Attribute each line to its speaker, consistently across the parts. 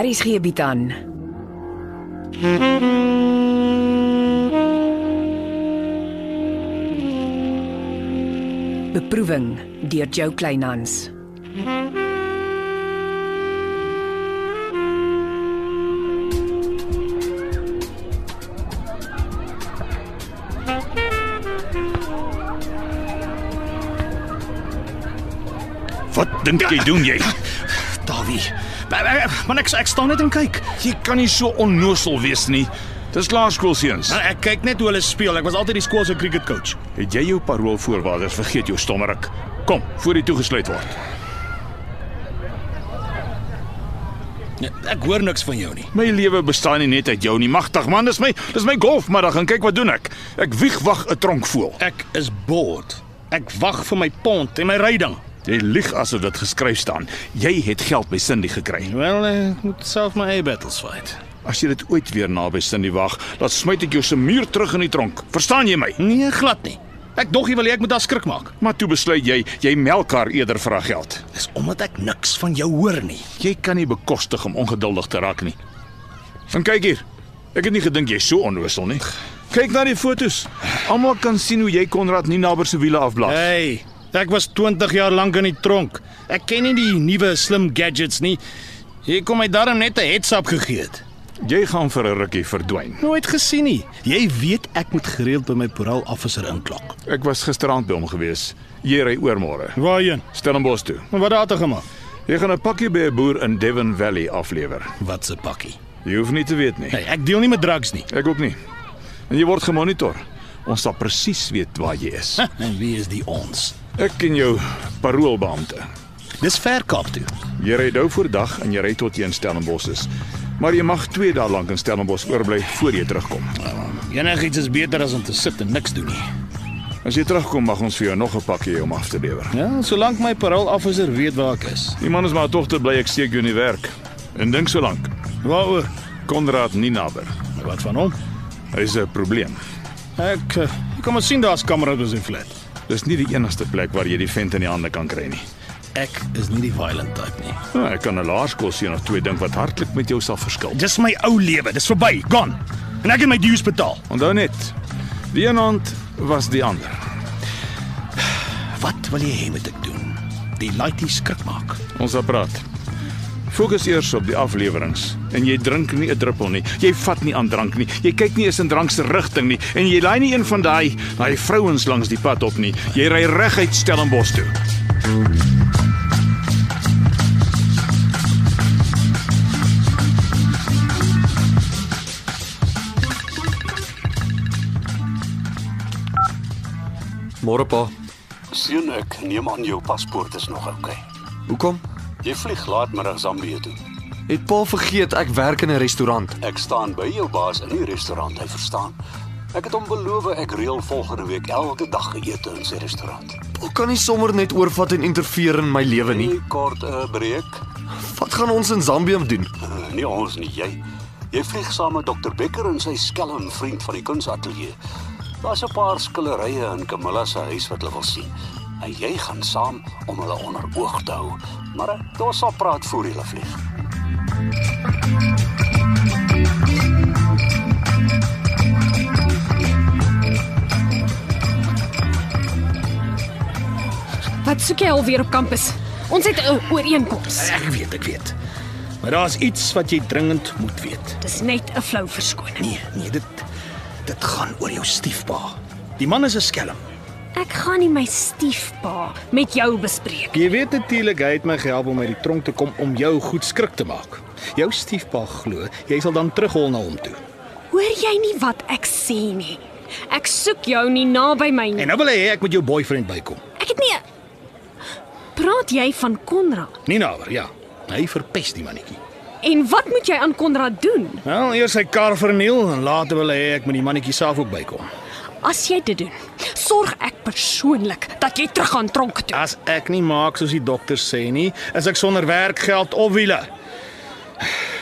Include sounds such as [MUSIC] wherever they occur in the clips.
Speaker 1: Aries gee bied aan. Beproeving deur Jo Kleinhans.
Speaker 2: Wat dink jy doen
Speaker 3: [LAUGHS]
Speaker 2: jy?
Speaker 3: Dawie. Eh, Maar ek ek staan net en kyk.
Speaker 2: Jy kan nie so onnosel wees nie. Dis laerskoolseuns.
Speaker 3: Maar ek kyk net hoe hulle speel. Ek was altyd die skool se cricket coach.
Speaker 2: Het jy jou paroolvoorwaardes vergeet jou stommerik? Kom, voor jy toegesluit word.
Speaker 3: Ja, Ek hoor niks van jou nie.
Speaker 2: My lewe bestaan nie net uit jou nie, magtig man. Dis my dis my golfmiddag en kyk wat doen ek. Ek wieg wag 'n tronkvoël.
Speaker 3: Ek is bored. Ek wag vir my pond en my ryding.
Speaker 2: Jy lieg asof dit geskryf staan. Jy het geld by Cindy gekry.
Speaker 3: Wel, ek moet self my eie battles fight.
Speaker 2: As jy dit ooit weer naby Cindy wag, dan smyt ek jou se muur terug in die tronk. Verstaan jy my?
Speaker 3: Nee, glad nie. Ek dog jy wil hê ek moet daar skrik maak.
Speaker 2: Maar toe besluit jy jy melk haar eerder vir haar geld.
Speaker 3: Dis omdat ek niks van jou hoor nie.
Speaker 2: Jy kan nie bekostig om ongeduldig te raak nie. Van kyk hier. Ek het nie gedink jy's so onnosel nie. Kyk na die fotos. Almal kan sien hoe jy Konrad nie naby se wiele afblaas.
Speaker 3: Hey, ek was 20 jaar lank in die tronk. Ek ken nie die nuwe slim gadgets nie. Hier kom my darm net 'n heads-up gegee het.
Speaker 2: Jy gaan vir 'n rukkie verdwyn.
Speaker 3: Nooit gesien nie. Jy weet ek moet gereeld by my parole officer inklok.
Speaker 2: Ek was gisteraand by hom gewees. Jy ry oor môre.
Speaker 3: Waarheen?
Speaker 2: Stellenbosch toe.
Speaker 3: Wat het dit gemaak?
Speaker 2: Jy gaan 'n pakkie by 'n boer in Devon Valley aflewer.
Speaker 3: Wat se pakkie?
Speaker 2: Jy hoef nie te weet nie.
Speaker 3: Hey, ek deel nie met drugs nie.
Speaker 2: Ek ook nie. En jy word gemonitor. Ons sal presies weet waar jy
Speaker 3: [LAUGHS]
Speaker 2: is.
Speaker 3: En wie is die ons?
Speaker 2: Ek en jou paroolbeampte.
Speaker 3: Dis ver Kaap toe.
Speaker 2: Jy ry dou voor dag en jy ry tot jy in Stellenbosch is. Maar jy mag 2 dae lank in Stellenbosch oorbly voor jy terugkom.
Speaker 3: Enigiets is beter as om te sit en niks doen nie.
Speaker 2: As jy terugkom mag ons vir jou nog 'n pakkie om af te lewer.
Speaker 3: Ja, solank my parole officer weet waar ek is.
Speaker 2: Die man is maar tog te bly ek steek jou in die werk. En dink so lank.
Speaker 3: Waaroor?
Speaker 2: Konrad Ninaber.
Speaker 3: Wat van hom?
Speaker 2: Hy's 'n probleem.
Speaker 3: Ek eh, kom ons sien daar's kameras op sy flat.
Speaker 2: Dis nie die enigste plek waar jy die vent in die hande kan kry nie.
Speaker 3: Ek is nie die violent type nie.
Speaker 2: Nou, ek kan 'n laerskoolseun of twee dink wat hartlik met jou sal verskil.
Speaker 3: Dis my ou lewe, dis verby, gaan. En ek het my dues betaal.
Speaker 2: Onthou net, die een hand was die ander.
Speaker 3: Wat wil jy hê moet ek doen? Die laaitie skrik maak.
Speaker 2: Ons sal praat. Fokus eers op die afleweringe en jy drink nie 'n druppel nie. Jy vat nie aan drank nie. Jy kyk nie eens in drank se rigting nie en jy laai nie een van daai daai vrouens langs die pad op nie. Jy ry reguit Stellenbosch toe.
Speaker 4: Môre pa.
Speaker 5: Seun, ek neem aan jou paspoort is nog oukei. Okay.
Speaker 4: Hoekom?
Speaker 5: Jy vlieg laatmiddag Zambië toe.
Speaker 4: Het pa vergeet ek werk in 'n restaurant.
Speaker 5: Ek staan by jou baas in die restaurant, hy verstaan. Ek het hom beloof ek reël volgende week elke dag ete in sy restaurant.
Speaker 4: Pa kan nie sommer net oorvat en interfereer in my lewe nie.
Speaker 5: Nie kort 'n uh, breek. [LAUGHS]
Speaker 4: Wat gaan ons in Zambië doen?
Speaker 5: Uh, nie ons nie, jy. Jy vlieg saam met Dr Becker en sy skelm vriend van die kunsateljee. Daar's 'n paar skillerye in Camilla se huis wat hulle wil sien. En jy gaan saam om hulle onder oog te hou. Maar eh, ons sal praat voor jy vlieg.
Speaker 6: Wat soek jy alweer op kampus? Ons het 'n ooreenkoms.
Speaker 3: Ek weet, ek weet. Maar daar's iets wat jy dringend moet weet.
Speaker 6: Dis net 'n flou verskoning.
Speaker 3: Nee, nee, dit dit gaan oor jou stiefpa. Die man is 'n skelm.
Speaker 6: Ek gaan nie my stiefpa met jou bespreek.
Speaker 3: Jy weet natuurlik hy het my gehelp om uit die tronk te kom om jou goed skrik te maak. Jou stiefpa glo jy sal dan terughol na hom toe.
Speaker 6: Hoor jy nie wat ek sê nie? Ek soek jou nie naby my
Speaker 3: En
Speaker 6: nie.
Speaker 3: nou wil hy hê ek moet jou boyfriend bykom.
Speaker 6: Ek het nie Praat jy van Konrad?
Speaker 3: Nie nader, ja. Hy verpes die mannetjie.
Speaker 6: En wat moet jy aan Konrad doen?
Speaker 3: Wel, eers sy kar verniel en later wil hy hê ek moet die mannetjie self ook bykom.
Speaker 6: As jy dit doen, sorg ek persoonlik dat jy terug aan tronk toe.
Speaker 3: As ek nie maak soos die dokters sê nie, is ek sonder werk, geld of wiele.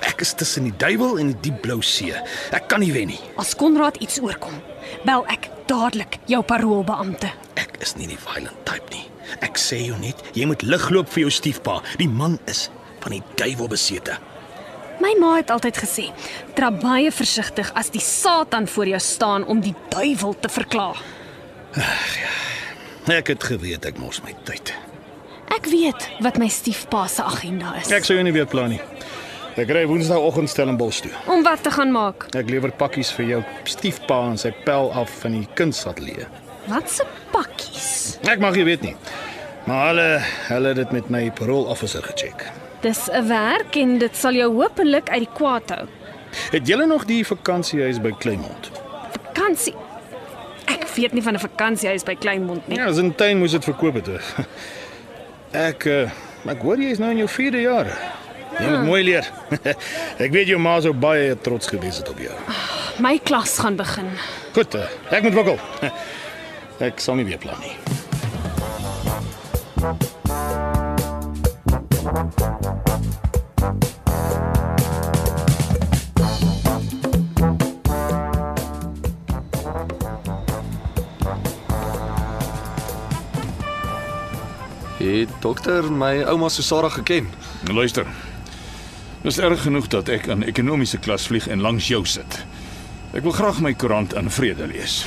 Speaker 3: Ek is tussen die duiwel en die diep blou see. Ek kan nie wen nie.
Speaker 6: As Konrad iets oorkom, bel ek dadelik jou paroolbeampte.
Speaker 3: Ek is nie die violent type nie. Ek sê jou net, jy moet ligloop vir jou stiefpa. Die man is van die duiwel besete.
Speaker 6: My ma het altyd gesê, "Trap baie versigtig as die Satan voor jou staan om die duiwel te verklaar."
Speaker 3: Ek het geweet ek mors my tyd.
Speaker 6: Ek weet wat my stiefpa se agenda is.
Speaker 3: Ek sou jou nie weer plan nie. Ek ry woensdaagoggend Stellenbosch toe.
Speaker 6: Om wat te gaan maak?
Speaker 3: Ek lewer pakkies vir jou stiefpa en sy pel af van die kunsateljee.
Speaker 6: Wat se pakkies?
Speaker 3: Ek mag jy weet nie. Maar hulle hulle het dit met my parole officer gecheck.
Speaker 6: Dis 'n werk en dit sal jou hopelik uit die kwaad hou.
Speaker 3: Het julle nog die vakansiehuis by Kleinmond?
Speaker 6: Vakansie. Ek weet nie van 'n vakansiehuis by Kleinmond nie.
Speaker 3: Ja, Sintuin moes dit verkoop het. hè. [LAUGHS] Ek eh, ek hoor jy is nou in jou 4de jaar. Jy moet mooi leer. [LAUGHS] ek weet jou ma sou baie trots gewees het op jou.
Speaker 6: My klas gaan begin.
Speaker 3: Goed, eh, ek moet wikkel. [LAUGHS] Ek sal nie weer plan nie.
Speaker 4: Het dokter my ouma Susara geken?
Speaker 2: Luister. Dis erg genoeg dat ek aan ekonomiese klas vlieg en langs jou sit. Ek wil graag my koerant in vrede lees.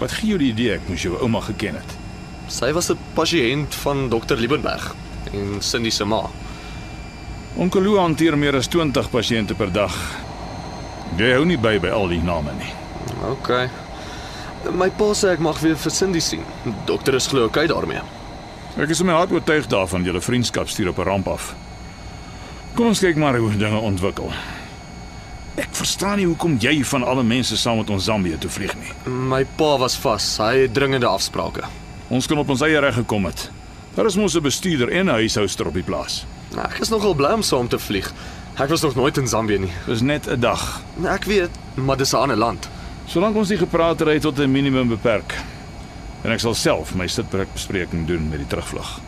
Speaker 2: Wat gee jou die idee ek moes jou ouma geken het?
Speaker 4: Sy was 'n pasiënt van dokter Liebenberg en Cindy se ma.
Speaker 2: Onkel Lou hanteer meer as 20 pasiënte per dag. Jy hou nie by by al die name nie.
Speaker 4: OK. My pa sê ek mag weer vir Cindy sien. Dokter is glo okay daarmee.
Speaker 2: Ek is in my hart oortuig daarvan julle vriendskap stuur op 'n ramp af. Kom ons kyk maar hoe dinge ontwikkel. Ek verstaan nie hoekom jy van alle mense saam met ons Zambië toe vlieg nie.
Speaker 4: My pa was vas. Hy het dringende afsprake.
Speaker 2: Ons kon op ons eie reg gekom het. Daar is mos 'n bestuurder en 'n huishouster op die plaas.
Speaker 4: Ek is nogal bly om saam te vlieg. Ek was nog nooit in Zambië nie.
Speaker 2: Dis net 'n dag.
Speaker 4: Ek weet, maar dis 'n ander land.
Speaker 2: Solank ons die gepraatery tot 'n minimum beperk. En ek sal self my sitbespreking doen met die terugvlug.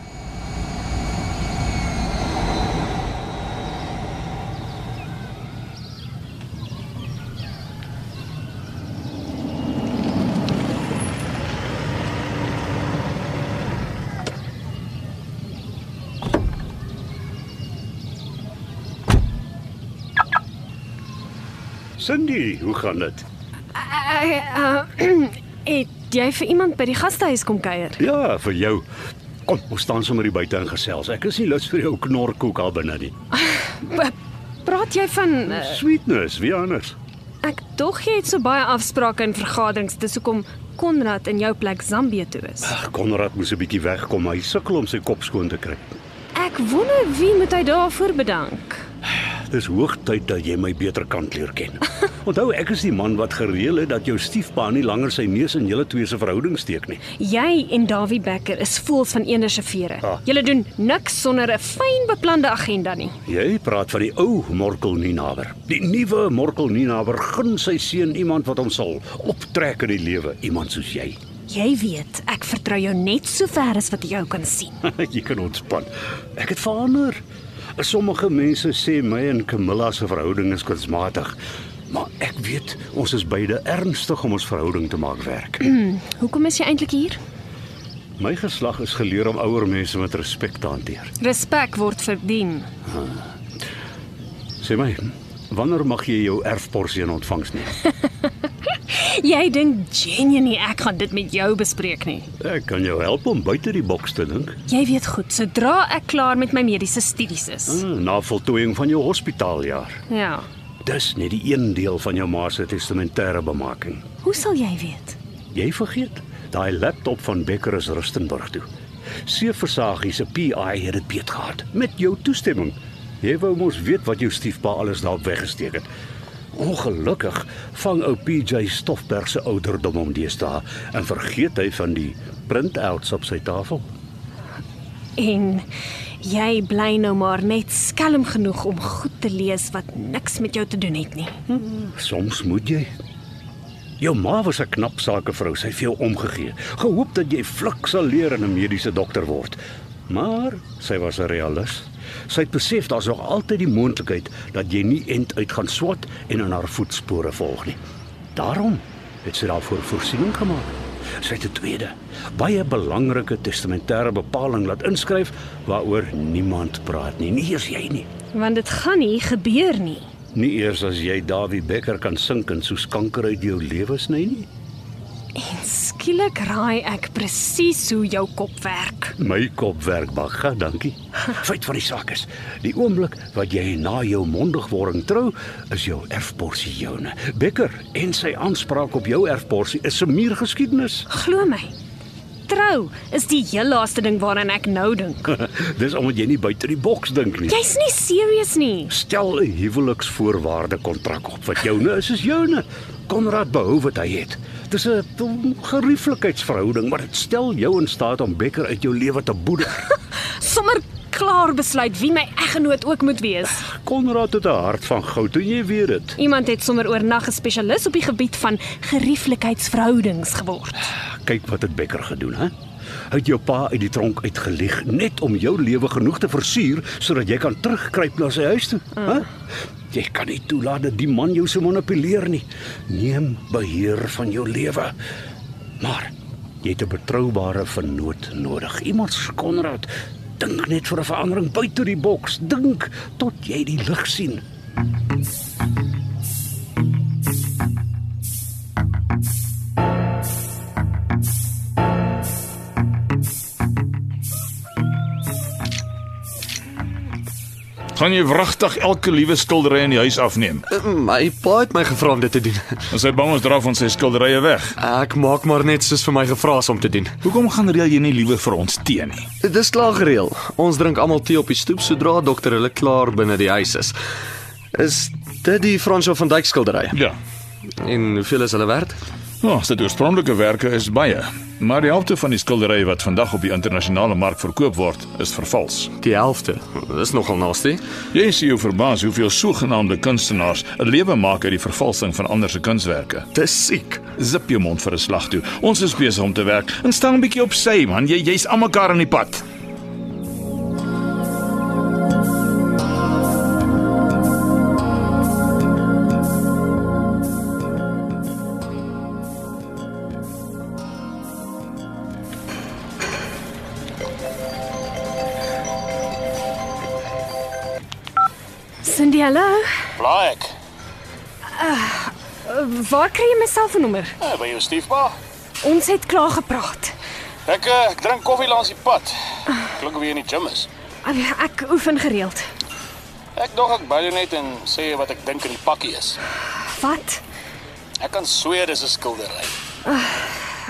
Speaker 7: Cindy, hoe gaan dit?
Speaker 6: Uh, het [CLEARS THROAT] jy vir iemand by die gastehuis kom kuier?
Speaker 7: Ja, vir jou. Kom, ons staan sommer hier buite en gesels. Ek is nie lus vir jou knorkoek al binne nie.
Speaker 6: P- Praat jy van uh,
Speaker 7: Sweetness, wie anders?
Speaker 6: ek dog jy het so baie afsprake en vergaderings dis hoekom Konrad in jou plek Zambië toe is.
Speaker 7: Ag, Konrad moes 'n bietjie wegkom. Hy sukkel om sy kop skoon te kry.
Speaker 6: Ek wonder wie moet hy daarvoor bedank.
Speaker 7: Dis hoogtyd dat jy my beter kan leer ken. Onthou, ek is die man wat gereël het dat jou stiefpa nie langer sy neus in julle twee se verhouding steek nie.
Speaker 6: Jy en Dawie Becker is voels van eender se vere.
Speaker 7: Ah.
Speaker 6: Julle doen niks sonder 'n fyn beplande agenda nie.
Speaker 7: Jy praat van die ou Morkel Ninaber. Die nuwe Morkel Ninaber gun sy seun iemand wat hom sal optrek in die lewe, iemand soos jy.
Speaker 6: Jy weet, ek vertrou jou net so ver as wat jy jou kan sien.
Speaker 7: [LAUGHS] jy kan ontspan. Ek het verander. Sommige mense sê my en Camilla se verhouding is kunsmatig, maar ek weet ons is beide ernstig om ons verhouding te maak werk.
Speaker 6: Hoekom is jy eintlik hier?
Speaker 7: my geslag is geleer om ouer mense met respek te hanteer.
Speaker 6: Respek word verdien.
Speaker 7: Sê my, wanneer mag jy jou erfporsie in ontvangs neem?
Speaker 6: Jy dink genuinely ek gaan dit met jou bespreek nie.
Speaker 7: Ek kan jou help om buite die boks te dink.
Speaker 6: Jy weet goed, sodra ek klaar met my mediese studies is.
Speaker 7: Ah, Na voltooiing van jou hospitaaljaar.
Speaker 6: Ja.
Speaker 7: Dis net die een deel van jou ma se testamentêre bemaking.
Speaker 6: Hoe sal jy weet?
Speaker 7: Jy vergeet, daai laptop van Becker is Rustenburg toe. Seeversagie se PI het dit beet gehad met jou toestemming. Jy wou mos weet wat jou stiefpa alles daar weggesteek het. Ongelukkig vang ou PJ Stoffberg se ouderdom hom deesdae en vergeet hy van die printouts op sy tafel.
Speaker 6: En jy bly nou maar net skelm genoeg om goed te lees wat niks met jou te doen het nie.
Speaker 7: Soms moet jy. Jou ma was 'n knap sakevrou, sy het vir jou omgegee. Gehoop dat jy vlug sal leer en 'n mediese dokter word. Maar sy was 'n realis. Sy het besef daar's nog altyd die moontlikheid dat jy nie end uit gaan swat en in haar voetspore volg nie. Daarom het sy daarvoor voorsiening gemaak. Sy het 'n tweede, baie belangrike testamentêre bepaling laat inskryf waaroor niemand praat nie, nie eers jy nie.
Speaker 6: Want dit gaan nie gebeur nie.
Speaker 7: Nie eers as jy Dawie Becker kan sink en soos kanker uit jou lewe sny nie.
Speaker 6: En skielik raai ek presies hoe jou kop werk.
Speaker 7: My kop werk bagga, dankie. Feit van die saak is, die oomblik wat jy na jou mondigwording trou, is jou erfporsie joune. Becker en sy aanspraak op jou erfporsie is 'n muur geskiedenis.
Speaker 6: Glo my. Trou is die heel laaste ding waaraan ek nou dink.
Speaker 7: Dis omdat jy nie buite die boks dink nie.
Speaker 6: Jy's nie serius nie.
Speaker 7: Stel 'n huweliksvoorwaarde kontrak op wat joune is, is joune. Konrad behou wat hy het. Dis 'n mm, gerieflikheidsverhouding, maar dit stel jou in staat om Becker uit jou lewe te boeder.
Speaker 6: Sommer klaar besluit wie my eggenoot ook moet wees.
Speaker 7: Konrad het 'n hart van goud, en jy weet dit.
Speaker 6: Iemand het sommer oornag 'n spesialis op die gebied van gerieflikheidsverhoudings geword.
Speaker 7: Kyk wat het Becker gedoen, hè? Hy het jou pa uit die tronk uitgelieg net om jou lewe genoeg te versuur sodat jy kan terugkruip na sy huis toe, hè? Jy kan nie toelaat dat die man jou so manipuleer nie. Neem beheer van jou lewe. Maar jy het 'n betroubare vernoot nodig. Iemand soos Konrad. Dink net vir 'n verandering buite die boks. Dink tot jy die lig sien.
Speaker 2: Gaan jy wragtig elke liewe skildery in die huis afneem?
Speaker 4: My pa het my gevra om dit te doen.
Speaker 2: Is hy bang ons dra van sy skilderye weg?
Speaker 4: Ek maak maar net soos vir my gevra is om te doen.
Speaker 2: Hoekom gaan reël jy nie liewe vir ons tee nie?
Speaker 4: Dis klaar gereël. Ons drink almal tee op die stoep sodra dokter hulle klaar binne die huis is. Is dit die Fransjo van Dyk skildery?
Speaker 2: Ja.
Speaker 4: En hoeveel is hulle werd?
Speaker 2: Nou, sy oorspronklike werke is baie, maar die helfte van die skilderye wat vandag op die internasionale mark verkoop word, is vervals.
Speaker 4: Die helfte. Dis nogal nasty.
Speaker 2: Jy sien jou verbaas hoeveel sogenaamde kunstenaars 'n lewe maak uit die vervalsing van ander se kunswerke.
Speaker 4: Dis siek.
Speaker 2: Zip jou mond vir 'n slag toe. Ons is besig om te werk. En staan 'n bietjie op sy, man. Jy jy's almekaar in die pad.
Speaker 6: Cindy, hallo.
Speaker 5: Blaai ek.
Speaker 6: Waar kry jy my selfoonnommer?
Speaker 5: Eh, By jou stiefpa.
Speaker 6: Ons het klaar gepraat.
Speaker 5: Ek eh, ek drink koffie langs die pad. Klink of jy in die gym is.
Speaker 6: Ek oefen gereeld.
Speaker 5: Ek dog ek bel jou net en sê wat ek dink in die pakkie is.
Speaker 6: Wat
Speaker 5: Ek kan sweer dis 'n skildery.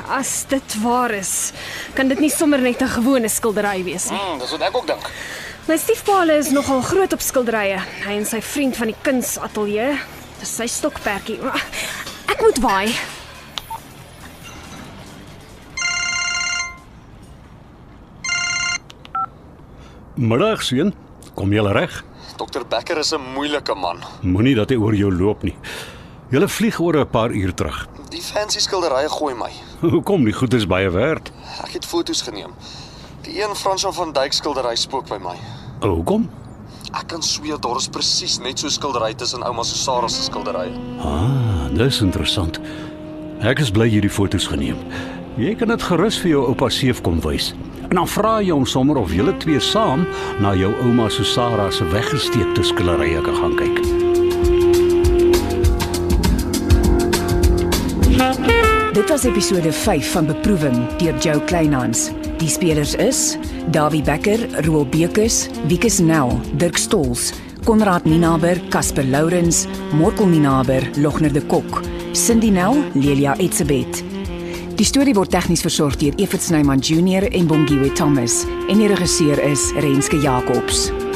Speaker 6: as dit waar is? Kan dit nie sommer net 'n gewone skildery wees nie?
Speaker 5: Mm, dis wat ek ook dink.
Speaker 6: My stiefpaal Nou, is nogal groot op skilderye. Hy en sy vriend van die kunsateljee, dis sy stokperdjie. Ek moet waai.
Speaker 7: Middag seun, kom jy reg?
Speaker 4: Dokter Becker is 'n moeilike man.
Speaker 7: Moenie dat hy oor jou loop nie. Jy vlieg oor 'n paar uur terug. [LAUGHS]
Speaker 4: Die fancy skilderye gooi my.
Speaker 7: Hoekom nie goed is baie werd?
Speaker 4: Ek het foto's geneem. Die een Fransjo van Dyk skildery spook by my.
Speaker 7: Hoekom?
Speaker 4: Ek kan sweer daar is presies net so skildery tussen ouma Susara se skilderye.
Speaker 7: Ah, dis interessant. Ek is bly hierdie foto's geneem. Jy kan dit gerus vir jou oupa Seef kom wys. En dan vra jy hom sommer of julle twee saam na jou ouma Susara se weggesteekte skillerye kan gaan kyk.
Speaker 1: Dit was episode 5 van Beproewing deur Jo Kleinhans. Die spelers is Dawie Becker, Roel Bekus, Wikus Nel, Dirk Stols, Konrad Ninaber, Casper Lourens, Morkel Ninaber, Logner de Kok, Cindy Nel, Lelia Etsebet. Die storie word tegnies versorg deur Evit Snyman Junior en Bongwe Thomas en die regisseur is Renske Jacobs.